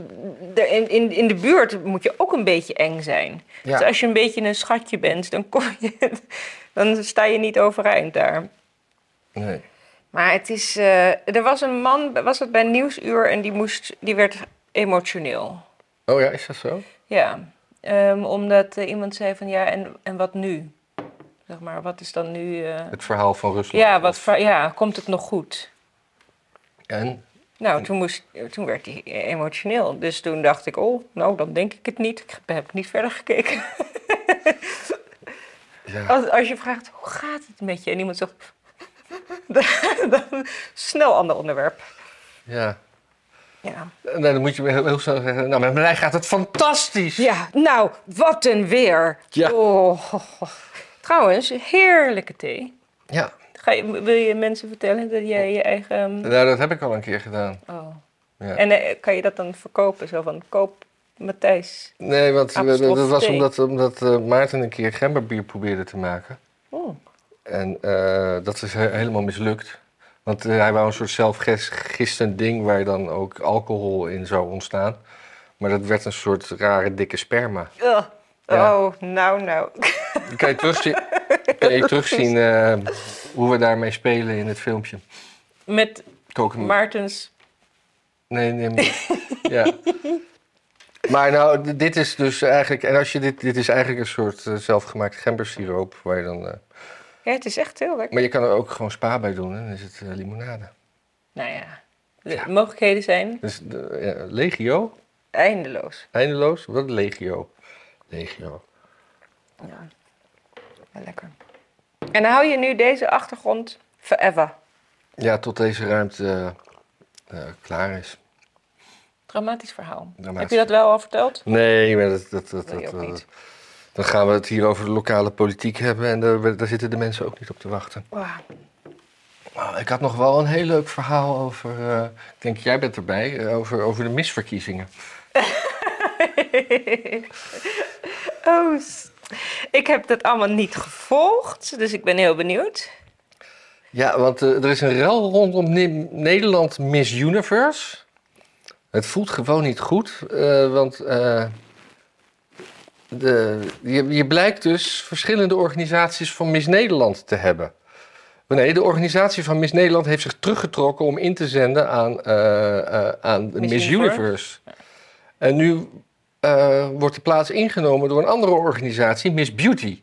[SPEAKER 2] de- in, in, in de buurt moet je ook een beetje eng zijn.
[SPEAKER 1] Ja.
[SPEAKER 2] Dus als je een beetje een schatje bent, dan, kom je, dan sta je niet overeind daar.
[SPEAKER 1] Nee.
[SPEAKER 2] Maar het is, eh, er was een man, was het bij Nieuwsuur, en die, moest, die werd emotioneel.
[SPEAKER 1] Oh ja, is dat zo?
[SPEAKER 2] Ja, ehm, omdat eh, iemand zei van ja, en, en wat nu? Zeg maar, wat is dan nu... eh,
[SPEAKER 1] Het verhaal van Rusland.
[SPEAKER 2] ja, wat, voor- ja, komt het nog goed?
[SPEAKER 1] En?
[SPEAKER 2] Nou, toen, moest, toen werd hij emotioneel. Dus toen dacht ik, oh, nou, dan denk ik het niet. Ik heb niet verder gekeken.
[SPEAKER 1] Ja.
[SPEAKER 2] Als, als je vraagt, hoe gaat het met je? En iemand zegt, dan, dan snel ander onderwerp.
[SPEAKER 1] ja.
[SPEAKER 2] Ja.
[SPEAKER 1] Nou, dan moet je weer heel, heel snel zeggen, nou, met mij gaat het fantastisch.
[SPEAKER 2] ja, nou, wat een weer.
[SPEAKER 1] Ja.
[SPEAKER 2] Oh, Trouwens, heerlijke thee.
[SPEAKER 1] Ja.
[SPEAKER 2] Ga je, wil je mensen vertellen dat jij je eigen...
[SPEAKER 1] Nou, dat heb ik al een keer gedaan.
[SPEAKER 2] Oh.
[SPEAKER 1] Ja.
[SPEAKER 2] En eh, kan je dat dan verkopen? Zo van, koop Matthijs.
[SPEAKER 1] Nee, want we-
[SPEAKER 2] Appelstof
[SPEAKER 1] dat was
[SPEAKER 2] thee.
[SPEAKER 1] omdat, omdat eh, Maarten een keer gemberbier probeerde te maken.
[SPEAKER 2] Oh.
[SPEAKER 1] En eh, dat is he- helemaal mislukt. Want eh, hij wou een soort zelfgistend ding waar dan ook alcohol in zou ontstaan. Maar dat werd een soort rare dikke sperma.
[SPEAKER 2] Ugh.
[SPEAKER 1] Ja.
[SPEAKER 2] Oh, nou, nou.
[SPEAKER 1] Dan kan je terugzien, kan je terugzien eh, hoe we daarmee spelen in het filmpje.
[SPEAKER 2] Met
[SPEAKER 1] Koken
[SPEAKER 2] Hm. Maartens.
[SPEAKER 1] Nee, nee. maar- ja. Maar nou, d- dit is dus eigenlijk... En als je dit, dit is eigenlijk een soort eh, zelfgemaakt gembersiroop. Waar je dan, eh,
[SPEAKER 2] Ja, het is echt heel lekker.
[SPEAKER 1] maar je kan er ook gewoon spa bij doen. Hè? Dan is het eh, limonade.
[SPEAKER 2] Nou ja, de mogelijkheden zijn
[SPEAKER 1] Dus de- ja, legio,
[SPEAKER 2] eindeloos.
[SPEAKER 1] eindeloos. Wat legio? Legio.
[SPEAKER 2] Ja, wel lekker. En hou je nu deze achtergrond forever?
[SPEAKER 1] Ja, tot deze ruimte eh, eh, klaar is.
[SPEAKER 2] Dramatisch verhaal.
[SPEAKER 1] Dramatisch.
[SPEAKER 2] Heb je dat wel al verteld?
[SPEAKER 1] Nee, maar dat... dat, dat, eh,
[SPEAKER 2] Wil je
[SPEAKER 1] dat-
[SPEAKER 2] ook
[SPEAKER 1] dat-
[SPEAKER 2] niet.
[SPEAKER 1] dan gaan we het hier over de lokale politiek hebben. En daar, daar zitten de mensen ook niet op te wachten.
[SPEAKER 2] Wow.
[SPEAKER 1] Nou, ik had nog wel een heel leuk verhaal over. eh, ik denk, jij bent erbij. eh, over, over de misverkiezingen.
[SPEAKER 2] oh, s- ik heb dat allemaal niet gevolgd, dus ik ben heel benieuwd.
[SPEAKER 1] Ja, want eh, er is een rel rondom Ne- Nederland Miss Universe. Het voelt gewoon niet goed. eh, want eh, de, je, je blijkt dus verschillende organisaties van Miss Nederland te hebben. Nee, de organisatie van Miss Nederland heeft zich teruggetrokken om in te zenden aan, eh, eh, aan de
[SPEAKER 2] Miss
[SPEAKER 1] Miss,
[SPEAKER 2] Universe.
[SPEAKER 1] Universe. En nu eh, wordt de plaats ingenomen door een andere organisatie, Miss Beauty.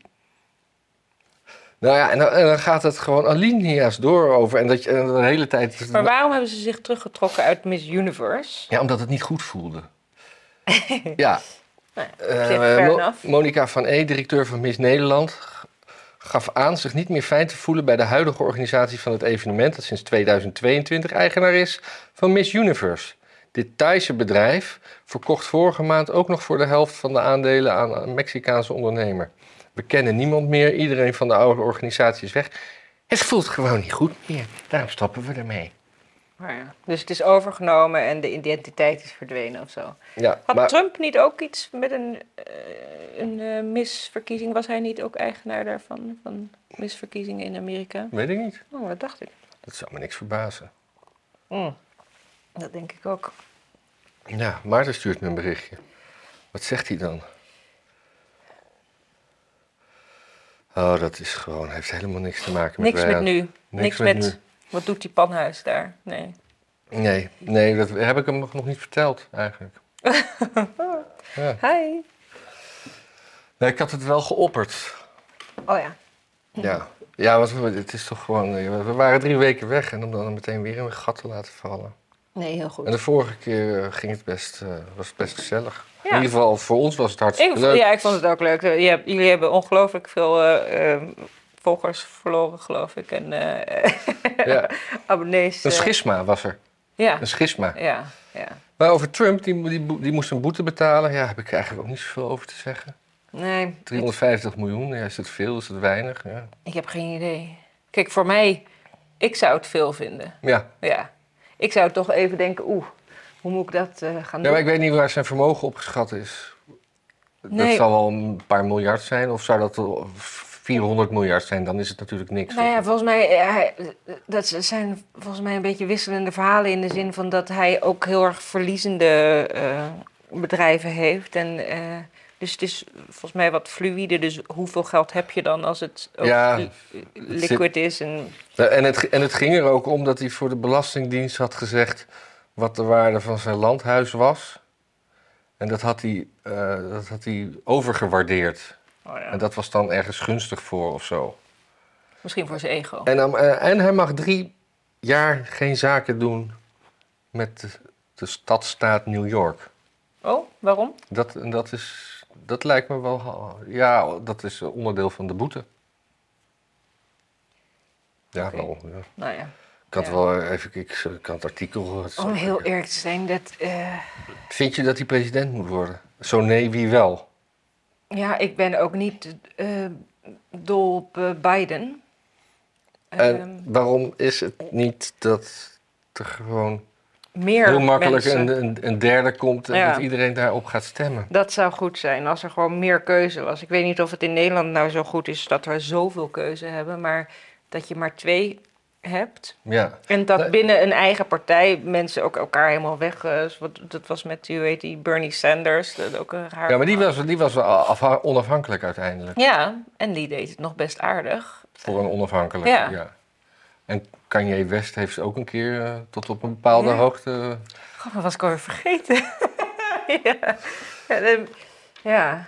[SPEAKER 1] Nou ja, en dan, en dan gaat het gewoon alinea's door over. En dat je en de hele tijd.
[SPEAKER 2] Maar waarom hebben ze zich teruggetrokken uit Miss Universe?
[SPEAKER 1] Ja, omdat het niet goed voelde. ja.
[SPEAKER 2] Nou ja,
[SPEAKER 1] eh,
[SPEAKER 2] zich fair
[SPEAKER 1] Mo-
[SPEAKER 2] enough.
[SPEAKER 1] Monica van E, directeur van Miss Nederland, g- gaf aan zich niet meer fijn te voelen bij de huidige organisatie van het evenement, dat sinds 2022 eigenaar is van Miss Universe. Dit Thaise bedrijf verkocht vorige maand ook nog voor de helft van de aandelen aan een Mexicaanse ondernemer. We kennen niemand meer, iedereen van de oude organisatie is weg. Het voelt gewoon niet goed meer, daarom stappen we ermee.
[SPEAKER 2] Maar ja, Dus het is overgenomen en de identiteit is verdwenen of zo.
[SPEAKER 1] Ja,
[SPEAKER 2] Had
[SPEAKER 1] maar-
[SPEAKER 2] Trump niet ook iets met een, eh, een eh, misverkiezing? Was hij niet ook eigenaar daarvan? Van misverkiezingen in Amerika?
[SPEAKER 1] weet ik niet.
[SPEAKER 2] Oh, dat dacht ik.
[SPEAKER 1] Dat zou me niks verbazen.
[SPEAKER 2] Mm. Dat denk ik ook.
[SPEAKER 1] Ja, Maarten stuurt me een berichtje. Wat zegt hij dan? Oh, dat is gewoon, heeft helemaal niks te maken met
[SPEAKER 2] Niks
[SPEAKER 1] wij
[SPEAKER 2] met
[SPEAKER 1] aan-
[SPEAKER 2] nu. Niks,
[SPEAKER 1] Niks
[SPEAKER 2] met,
[SPEAKER 1] met
[SPEAKER 2] wat doet die panhuis daar? Nee.
[SPEAKER 1] Nee, nee, dat heb ik hem nog, nog niet verteld eigenlijk. ja.
[SPEAKER 2] Hi.
[SPEAKER 1] Nee, ik had het wel geopperd.
[SPEAKER 2] Oh ja.
[SPEAKER 1] Ja, ja want we- het is toch gewoon, eh, we waren drie weken weg en om dan meteen weer in een gat te laten vallen.
[SPEAKER 2] Nee, heel
[SPEAKER 1] En
[SPEAKER 2] goed.
[SPEAKER 1] de vorige keer eh, ging het best, eh, was het best gezellig.
[SPEAKER 2] Ja.
[SPEAKER 1] In ieder geval, voor ons was het hartstikke
[SPEAKER 2] Ik,
[SPEAKER 1] leuk.
[SPEAKER 2] ja, ik vond het ook leuk. Je hebt- Jullie hebben ongelooflijk veel eh, eh, volgers verloren, geloof ik. En eh,
[SPEAKER 1] Ja.
[SPEAKER 2] abonnees.
[SPEAKER 1] Een
[SPEAKER 2] eh,
[SPEAKER 1] schisma was er,
[SPEAKER 2] ja.
[SPEAKER 1] een schisma.
[SPEAKER 2] ja, ja.
[SPEAKER 1] Maar over Trump, die, mo- die, bo- die moest een boete betalen. Ja, heb ik eigenlijk ook niet zoveel over te zeggen.
[SPEAKER 2] Nee,
[SPEAKER 1] 350 miljoen, ja, is dat veel, is dat weinig? Ja.
[SPEAKER 2] Ik heb geen idee. Kijk, voor mij, ik zou het veel vinden.
[SPEAKER 1] Ja.
[SPEAKER 2] Ja. Ik zou toch even denken, oeh, hoe moet ik dat eh, gaan
[SPEAKER 1] ja,
[SPEAKER 2] doen?
[SPEAKER 1] maar ik weet niet waar zijn vermogen opgeschat is.
[SPEAKER 2] Nee.
[SPEAKER 1] Dat zal wel een paar miljard zijn, of zou dat wel 400 miljard zijn? Dan is het natuurlijk niks.
[SPEAKER 2] Nou ja, volgens mij, eh, hij- dat zijn volgens mij een beetje wisselende verhalen in de zin van dat hij ook heel erg verliezende eh, bedrijven heeft. En, eh, dus het is volgens mij wat fluïde, dus hoeveel geld heb je dan als het ook
[SPEAKER 1] Ja,
[SPEAKER 2] li- liquid is? En,
[SPEAKER 1] Eh, En, het, ge- en het ging er ook om dat hij voor de Belastingdienst had gezegd wat de waarde van zijn landhuis was. En dat had hij, eh, dat had hij overgewaardeerd.
[SPEAKER 2] Oh, ja.
[SPEAKER 1] En dat was dan ergens gunstig voor of zo.
[SPEAKER 2] Misschien voor zijn ego.
[SPEAKER 1] En, dan, eh, en hij mag drie jaar geen zaken doen met de, de stadstaat New York.
[SPEAKER 2] Oh, waarom?
[SPEAKER 1] Dat, en dat, is, dat lijkt me wel. ha- Ja, dat is onderdeel van de boete. Ja,
[SPEAKER 2] Oké.
[SPEAKER 1] wel. Ja.
[SPEAKER 2] Nou ja.
[SPEAKER 1] Ik had
[SPEAKER 2] Ja.
[SPEAKER 1] wel even ik, ik had het artikel. het-
[SPEAKER 2] Om heel eerlijk te zijn, dat... eh,
[SPEAKER 1] Vind je dat hij president moet worden? Zo nee, wie wel?
[SPEAKER 2] Ja, ik ben ook niet eh, dol op eh, Biden. Ehm,
[SPEAKER 1] En waarom is het niet dat er gewoon
[SPEAKER 2] meer
[SPEAKER 1] heel makkelijk
[SPEAKER 2] mensen.
[SPEAKER 1] een, een, een derde komt en
[SPEAKER 2] Ja.
[SPEAKER 1] dat iedereen daarop gaat stemmen?
[SPEAKER 2] Dat zou goed zijn, als er gewoon meer keuze was. Ik weet niet of het in Nederland nou zo goed is dat we zoveel keuze hebben, maar dat je maar twee hebt.
[SPEAKER 1] Ja.
[SPEAKER 2] En dat
[SPEAKER 1] Nee.
[SPEAKER 2] binnen een eigen partij mensen ook elkaar helemaal weg... eh, wat, dat was met, u weet die, Bernie Sanders, dat ook een raar...
[SPEAKER 1] Ja, maar die was, die was wel afha- onafhankelijk uiteindelijk.
[SPEAKER 2] Ja, en die deed het nog best aardig.
[SPEAKER 1] Voor een onafhankelijke,
[SPEAKER 2] Ja.
[SPEAKER 1] ja. En Kanye West heeft ze ook een keer eh, tot op een bepaalde
[SPEAKER 2] Ja.
[SPEAKER 1] hoogte...
[SPEAKER 2] God, dat was ik alweer vergeten. ja. Ja, de- ja,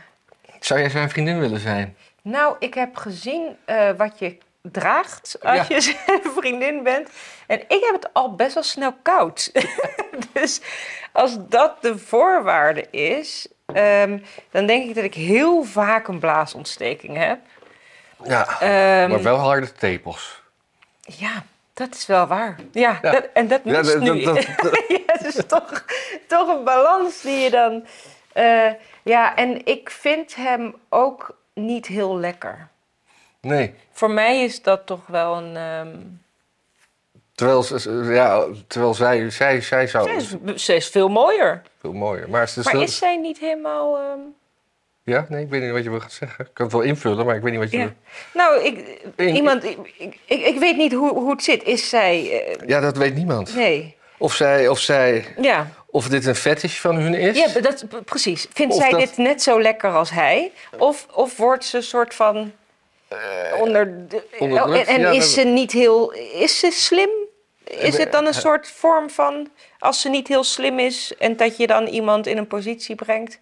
[SPEAKER 1] Zou jij zijn vriendin willen zijn?
[SPEAKER 2] Nou, ik heb gezien eh, wat je draagt als
[SPEAKER 1] Ja.
[SPEAKER 2] je zijn vriendin bent. En ik heb het al best wel snel koud. dus als dat de voorwaarde is, ehm, dan denk ik dat ik heel vaak een blaasontsteking heb.
[SPEAKER 1] Ja,
[SPEAKER 2] Ehm,
[SPEAKER 1] maar wel harde tepels.
[SPEAKER 2] Ja, dat is wel waar. Ja,
[SPEAKER 1] Ja.
[SPEAKER 2] Dat, en dat
[SPEAKER 1] Ja,
[SPEAKER 2] moest
[SPEAKER 1] dat-
[SPEAKER 2] nu.
[SPEAKER 1] dat- dat-
[SPEAKER 2] ja, het is toch, toch een balans die je dan... eh, ja, en ik vind hem ook niet heel lekker.
[SPEAKER 1] Nee.
[SPEAKER 2] Voor mij is dat toch wel een... ehm,
[SPEAKER 1] Terwijl, ze- ze- ja, terwijl zij, zij, zij zou...
[SPEAKER 2] Zij is, zij is veel mooier.
[SPEAKER 1] Veel mooier. Maar, ze
[SPEAKER 2] Maar is zij niet helemaal. ehm,
[SPEAKER 1] Ja, nee, ik weet niet wat je wil gaan zeggen. Ik kan het wel invullen, maar ik weet niet wat je
[SPEAKER 2] ja.
[SPEAKER 1] wil...
[SPEAKER 2] Nou, ik,
[SPEAKER 1] In-
[SPEAKER 2] iemand, ik, ik, ik weet niet hoe, hoe het zit. Is zij. eh,
[SPEAKER 1] Ja, dat weet niemand.
[SPEAKER 2] nee.
[SPEAKER 1] Of, zij, of, zij,
[SPEAKER 2] Ja.
[SPEAKER 1] of dit een fetish van hun is.
[SPEAKER 2] ja, dat, p- precies. Vindt
[SPEAKER 1] Of
[SPEAKER 2] zij
[SPEAKER 1] dat-
[SPEAKER 2] dit net zo lekker als hij? Of, of wordt ze een soort van. onder de- oh,
[SPEAKER 1] onderdrukt,
[SPEAKER 2] en en
[SPEAKER 1] Eh, ja,
[SPEAKER 2] is
[SPEAKER 1] dat-
[SPEAKER 2] ze niet heel. Is ze slim? Is het
[SPEAKER 1] Eh,
[SPEAKER 2] dan een soort vorm van. als ze niet heel slim is en dat je dan iemand in een positie brengt?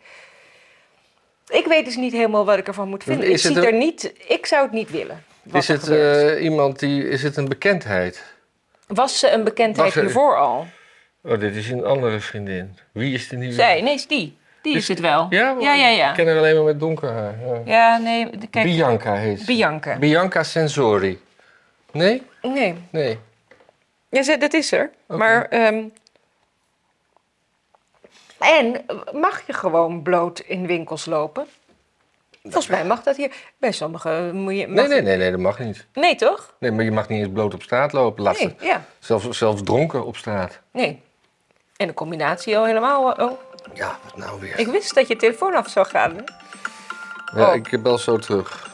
[SPEAKER 2] Ik weet dus niet helemaal wat ik ervan moet vinden.
[SPEAKER 1] Is
[SPEAKER 2] ik,
[SPEAKER 1] het
[SPEAKER 2] zie
[SPEAKER 1] een-
[SPEAKER 2] er niet, ik zou het niet willen. wat
[SPEAKER 1] is
[SPEAKER 2] er
[SPEAKER 1] het
[SPEAKER 2] gebeurt.
[SPEAKER 1] eh, iemand die... Is het een bekendheid?
[SPEAKER 2] was ze een bekendheid
[SPEAKER 1] was er-
[SPEAKER 2] hiervoor al?
[SPEAKER 1] Oh, dit is een andere vriendin. Wie is de nieuwe?
[SPEAKER 2] Zij, nee, is die. Die is het wel.
[SPEAKER 1] Ja,
[SPEAKER 2] ja, ja.
[SPEAKER 1] Ik
[SPEAKER 2] Ja,
[SPEAKER 1] ken haar alleen maar met donker haar. ja.
[SPEAKER 2] ja nee, de- kijk.
[SPEAKER 1] Bianca heet ze.
[SPEAKER 2] Bianca.
[SPEAKER 1] Bianca Sensori. Nee?
[SPEAKER 2] Nee,
[SPEAKER 1] Nee.
[SPEAKER 2] ja, ze- dat is er. Maar, ehm, en mag je gewoon bloot in winkels lopen? Volgens mij mag dat hier. Bij sommige moet je. mag-
[SPEAKER 1] Nee, nee, nee, nee, dat mag niet.
[SPEAKER 2] Nee, toch?
[SPEAKER 1] Nee, maar je mag niet eens bloot op straat lopen. Laat
[SPEAKER 2] Nee,
[SPEAKER 1] ze-
[SPEAKER 2] ja.
[SPEAKER 1] zelfs, zelfs dronken op straat.
[SPEAKER 2] Nee. En de combinatie al helemaal. eh, Oh,
[SPEAKER 1] Ja, wat nou weer?
[SPEAKER 2] ik wist dat je telefoon af zou gaan.
[SPEAKER 1] Ja,
[SPEAKER 2] Oh.
[SPEAKER 1] ik bel zo terug.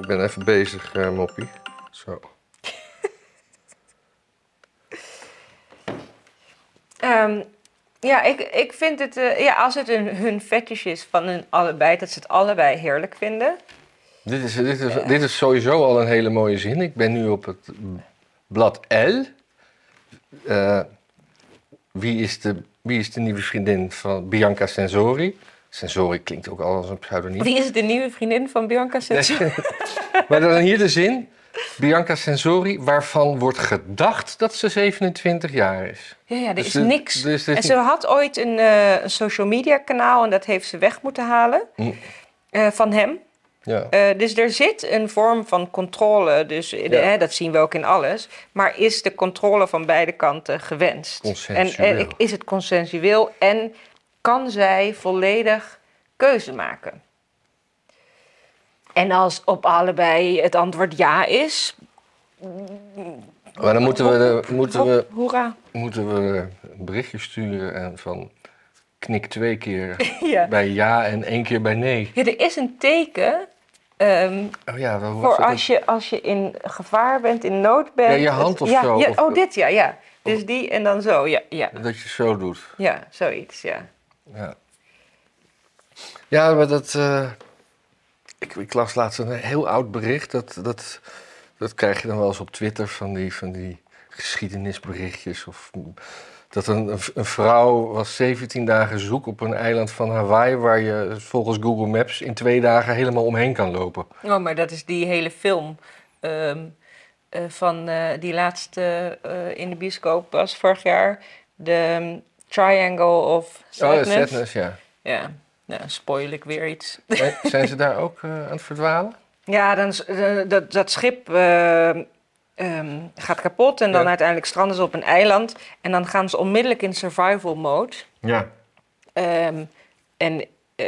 [SPEAKER 1] Ik ben even bezig, eh, Moppie. Zo.
[SPEAKER 2] Ehm, ja, ik, ik vind het... eh, ja, als het een, hun fetish is van hun allebei... dat ze het allebei heerlijk vinden.
[SPEAKER 1] Dit is, dit, is, dit is sowieso al een hele mooie zin. Ik ben nu op het blad L. Eh, wie, is de, wie is de nieuwe vriendin van Bianca Sensori? Sensori klinkt ook al als een pseudoniem.
[SPEAKER 2] Wie is de nieuwe vriendin van Bianca Sensor?
[SPEAKER 1] Maar dan hier de zin. Bianca Sensori, waarvan wordt gedacht dat ze 27 jaar is.
[SPEAKER 2] Ja, ja, er
[SPEAKER 1] Dus
[SPEAKER 2] is
[SPEAKER 1] dit-
[SPEAKER 2] niks.
[SPEAKER 1] dus dit is
[SPEAKER 2] en ze had ooit een, eh, een social media kanaal... en dat heeft ze weg moeten halen
[SPEAKER 1] Mm.
[SPEAKER 2] eh, van hem.
[SPEAKER 1] Ja.
[SPEAKER 2] Eh, dus er zit een vorm van controle. Dus eh, de-
[SPEAKER 1] Ja.
[SPEAKER 2] hè, dat zien we ook in alles. Maar is de controle van beide kanten gewenst? En,
[SPEAKER 1] Consensueel.
[SPEAKER 2] en ik- is het consensueel? En kan zij volledig keuze maken? En als op allebei het antwoord ja is,
[SPEAKER 1] Maar dan moeten we, de- moeten we,
[SPEAKER 2] hop, hoera.
[SPEAKER 1] moeten we een berichtje sturen en van knik twee keer
[SPEAKER 2] Ja.
[SPEAKER 1] bij ja en één keer bij nee.
[SPEAKER 2] Ja, er is een teken ehm,
[SPEAKER 1] Oh ja, wel, hoe was
[SPEAKER 2] voor
[SPEAKER 1] dat
[SPEAKER 2] als je, als je in gevaar bent, in nood bent.
[SPEAKER 1] Ja, je hand of
[SPEAKER 2] ja,
[SPEAKER 1] zo,
[SPEAKER 2] ja,
[SPEAKER 1] of-
[SPEAKER 2] oh, dit ja, ja. Dus die en dan zo, ja, ja.
[SPEAKER 1] ook? Dat je zo doet.
[SPEAKER 2] Ja, zoiets, ja.
[SPEAKER 1] Ja, ja maar dat... eh, ik, ik las laatst een heel oud bericht. Dat, dat, dat krijg je dan wel eens op Twitter van die... Van die geschiedenisberichtjes. Of dat een, een v- een vrouw was 17 dagen zoek op een eiland van Hawaii... waar je volgens Google Maps in twee dagen helemaal omheen kan lopen.
[SPEAKER 2] Oh, maar dat is die hele film ehm, eh, van eh, die laatste eh, in de bioscoop was vorig jaar. De ehm, Triangle of Sadness.
[SPEAKER 1] Oh, sadness, ja.
[SPEAKER 2] Ja, nou, spoil ik weer iets.
[SPEAKER 1] Eh, Zijn ze daar ook eh, aan het verdwalen?
[SPEAKER 2] Ja, dan, s- eh, dat, dat schip eh, ehm, gaat kapot en dan
[SPEAKER 1] Ja.
[SPEAKER 2] uiteindelijk stranden ze op een eiland. En dan gaan ze onmiddellijk in survival mode.
[SPEAKER 1] Ja.
[SPEAKER 2] Ehm, en eh,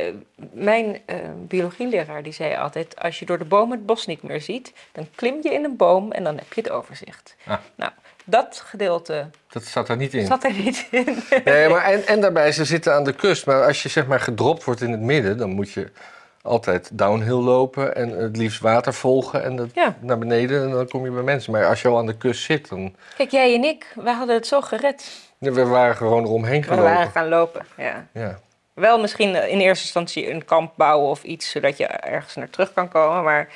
[SPEAKER 2] mijn eh, biologieleraar die zei altijd... als je door de bomen het bos niet meer ziet... dan klim je in een boom en dan heb je het overzicht.
[SPEAKER 1] Ah.
[SPEAKER 2] Nou, dat gedeelte
[SPEAKER 1] Dat staat daar niet in.
[SPEAKER 2] zat er niet in.
[SPEAKER 1] Nee, maar en, en daarbij, ze zitten aan de kust. Maar als je zeg maar gedropt wordt in het midden, dan moet je altijd downhill lopen en het liefst water volgen en dat
[SPEAKER 2] Ja.
[SPEAKER 1] naar beneden en dan kom je bij mensen. Maar als je al aan de kust zit, dan
[SPEAKER 2] Kijk, jij en ik, wij hadden het zo gered.
[SPEAKER 1] we waren gewoon eromheen
[SPEAKER 2] We
[SPEAKER 1] gelopen.
[SPEAKER 2] waren gaan lopen, ja.
[SPEAKER 1] Ja.
[SPEAKER 2] Wel misschien eh, in eerste instantie een kamp bouwen of iets... zodat je ergens naar terug kan komen, maar...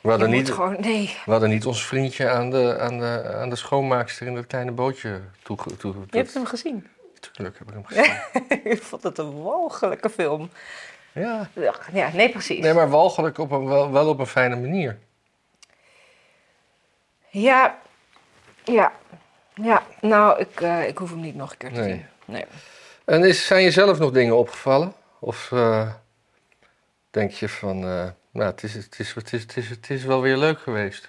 [SPEAKER 1] We hadden
[SPEAKER 2] Je
[SPEAKER 1] niet,
[SPEAKER 2] moet gewoon, nee.
[SPEAKER 1] we hadden niet ons vriendje aan de, aan de, aan de schoonmaakster in dat kleine bootje toe. toe,
[SPEAKER 2] Je hebt hem gezien.
[SPEAKER 1] Tuurlijk heb ik hem gezien.
[SPEAKER 2] ik vond het een walgelijke film.
[SPEAKER 1] ja.
[SPEAKER 2] Ach, Ja, nee, precies.
[SPEAKER 1] Nee, maar walgelijk op een, wel, wel op een fijne manier.
[SPEAKER 2] Ja, ja, ja. Nou, ik, eh, ik hoef hem niet nog een keer te
[SPEAKER 1] Nee.
[SPEAKER 2] zien. Nee.
[SPEAKER 1] En is, zijn je zelf nog dingen opgevallen? Of eh, denk je van, eh, nou, het is, het, is, het, is, het, is, het is wel weer leuk geweest?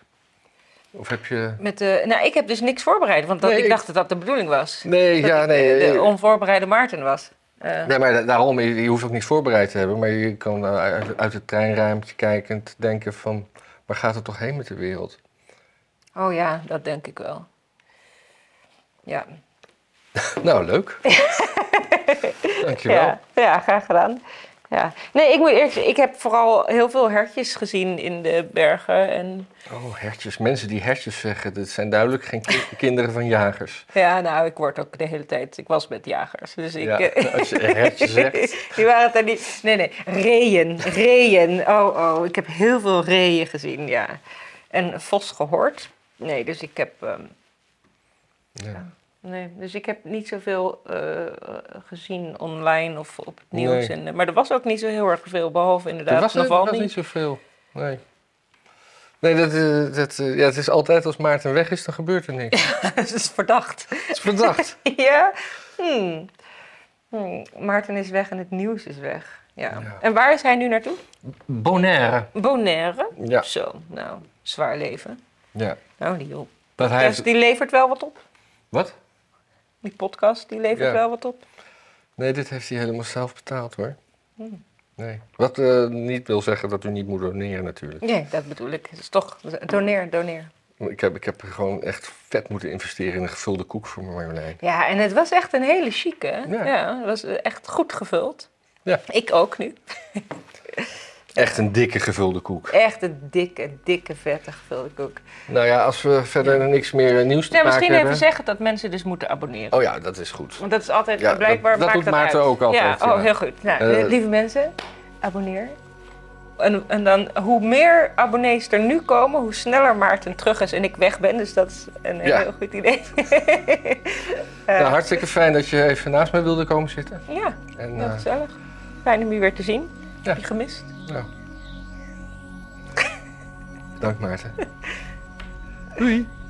[SPEAKER 1] Of heb je...
[SPEAKER 2] Met de, nou, ik heb dus niks voorbereid, want dat,
[SPEAKER 1] Nee,
[SPEAKER 2] ik
[SPEAKER 1] ik-
[SPEAKER 2] dacht dat dat de bedoeling was.
[SPEAKER 1] Nee,
[SPEAKER 2] Dat
[SPEAKER 1] ja,
[SPEAKER 2] ik,
[SPEAKER 1] nee.
[SPEAKER 2] eh,
[SPEAKER 1] eh,
[SPEAKER 2] de onvoorbereide Maarten was. Eh,
[SPEAKER 1] nee, maar da- daarom, je, je hoeft ook niet voorbereid te hebben. Maar je kan eh, uit, uit het treinruimte kijkend denken van, waar gaat het toch heen met de wereld?
[SPEAKER 2] Oh ja, dat denk ik wel. Ja.
[SPEAKER 1] Nou, leuk. Dankjewel.
[SPEAKER 2] Ja, ja, graag gedaan. Ja. Nee, ik moet eerlijk zeggen, ik heb vooral heel veel hertjes gezien in de bergen. En
[SPEAKER 1] Oh, hertjes. Mensen die hertjes zeggen, dat zijn duidelijk geen ki- kinderen van jagers.
[SPEAKER 2] Ja, nou, ik word ook de hele tijd. Ik was met jagers, dus ik.
[SPEAKER 1] Ja,
[SPEAKER 2] eh,
[SPEAKER 1] als je hertje zegt.
[SPEAKER 2] Die waren het er niet. Nee, nee. Reeën, reeën. Oh, oh, ik heb heel veel reeën gezien, ja. En vos gehoord. Nee, dus ik heb. ehm,
[SPEAKER 1] Ja.
[SPEAKER 2] nee, dus ik heb niet zoveel eh, gezien online of op het nieuws.
[SPEAKER 1] Nee.
[SPEAKER 2] En, eh, maar er was ook niet zo heel erg veel, behalve
[SPEAKER 1] Er
[SPEAKER 2] inderdaad
[SPEAKER 1] was, er
[SPEAKER 2] Navalny.
[SPEAKER 1] was niet zoveel. Nee. Nee, dat, eh, dat, eh, ja, het is altijd als Maarten weg is, dan gebeurt er niks.
[SPEAKER 2] Het is verdacht.
[SPEAKER 1] Het is verdacht.
[SPEAKER 2] ja? Hmm. Hmm. Maarten is weg en het nieuws is weg. ja.
[SPEAKER 1] Ja.
[SPEAKER 2] En waar is hij nu naartoe?
[SPEAKER 1] Bonaire.
[SPEAKER 2] Bonaire.
[SPEAKER 1] Ja,
[SPEAKER 2] Zo, nou, zwaar leven.
[SPEAKER 1] ja.
[SPEAKER 2] Nou, die, joh.
[SPEAKER 1] Dat hij
[SPEAKER 2] podcast,
[SPEAKER 1] heeft-
[SPEAKER 2] dus die levert wel wat op.
[SPEAKER 1] Wat?
[SPEAKER 2] Die podcast, die levert
[SPEAKER 1] Ja.
[SPEAKER 2] wel wat op.
[SPEAKER 1] Nee, dit heeft hij helemaal zelf betaald hoor.
[SPEAKER 2] Hmm.
[SPEAKER 1] Nee. Wat eh, niet wil zeggen dat u niet moet doneren natuurlijk.
[SPEAKER 2] Nee, dat bedoel ik. Het is toch, doneer, doneer.
[SPEAKER 1] Ik heb, ik heb gewoon echt vet moeten investeren in een gevulde koek voor mijn Marjolein.
[SPEAKER 2] Ja, en het was echt een hele chique. hè?
[SPEAKER 1] Ja.
[SPEAKER 2] Ja. het was echt goed gevuld.
[SPEAKER 1] Ja.
[SPEAKER 2] Ik ook nu.
[SPEAKER 1] Echt een dikke gevulde koek.
[SPEAKER 2] Echt een dikke, dikke, vette gevulde koek.
[SPEAKER 1] Nou ja, als we verder niks meer eh, nieuws te
[SPEAKER 2] Nou,
[SPEAKER 1] maken
[SPEAKER 2] misschien
[SPEAKER 1] hebben...
[SPEAKER 2] even zeggen dat mensen dus moeten abonneren.
[SPEAKER 1] Oh ja, dat is goed.
[SPEAKER 2] Want dat is altijd,
[SPEAKER 1] Ja,
[SPEAKER 2] blijkbaar
[SPEAKER 1] dat- dat
[SPEAKER 2] maakt
[SPEAKER 1] doet
[SPEAKER 2] dat
[SPEAKER 1] Maarten
[SPEAKER 2] uit.
[SPEAKER 1] ook altijd,
[SPEAKER 2] Ja,
[SPEAKER 1] ja.
[SPEAKER 2] oh, heel goed. Nou,
[SPEAKER 1] Eh,
[SPEAKER 2] lieve mensen, abonneer. En, en dan, hoe meer abonnees er nu komen, hoe sneller Maarten terug is en ik weg ben. Dus dat is een
[SPEAKER 1] Ja.
[SPEAKER 2] heel goed idee. Eh,
[SPEAKER 1] Nou, hartstikke fijn dat je even naast mij wilde komen zitten.
[SPEAKER 2] ja,
[SPEAKER 1] En,
[SPEAKER 2] heel
[SPEAKER 1] eh,
[SPEAKER 2] gezellig. Fijn om je weer te zien.
[SPEAKER 1] Ja.
[SPEAKER 2] Heb je gemist?
[SPEAKER 1] Nou. Dank Maarten.
[SPEAKER 2] Doei.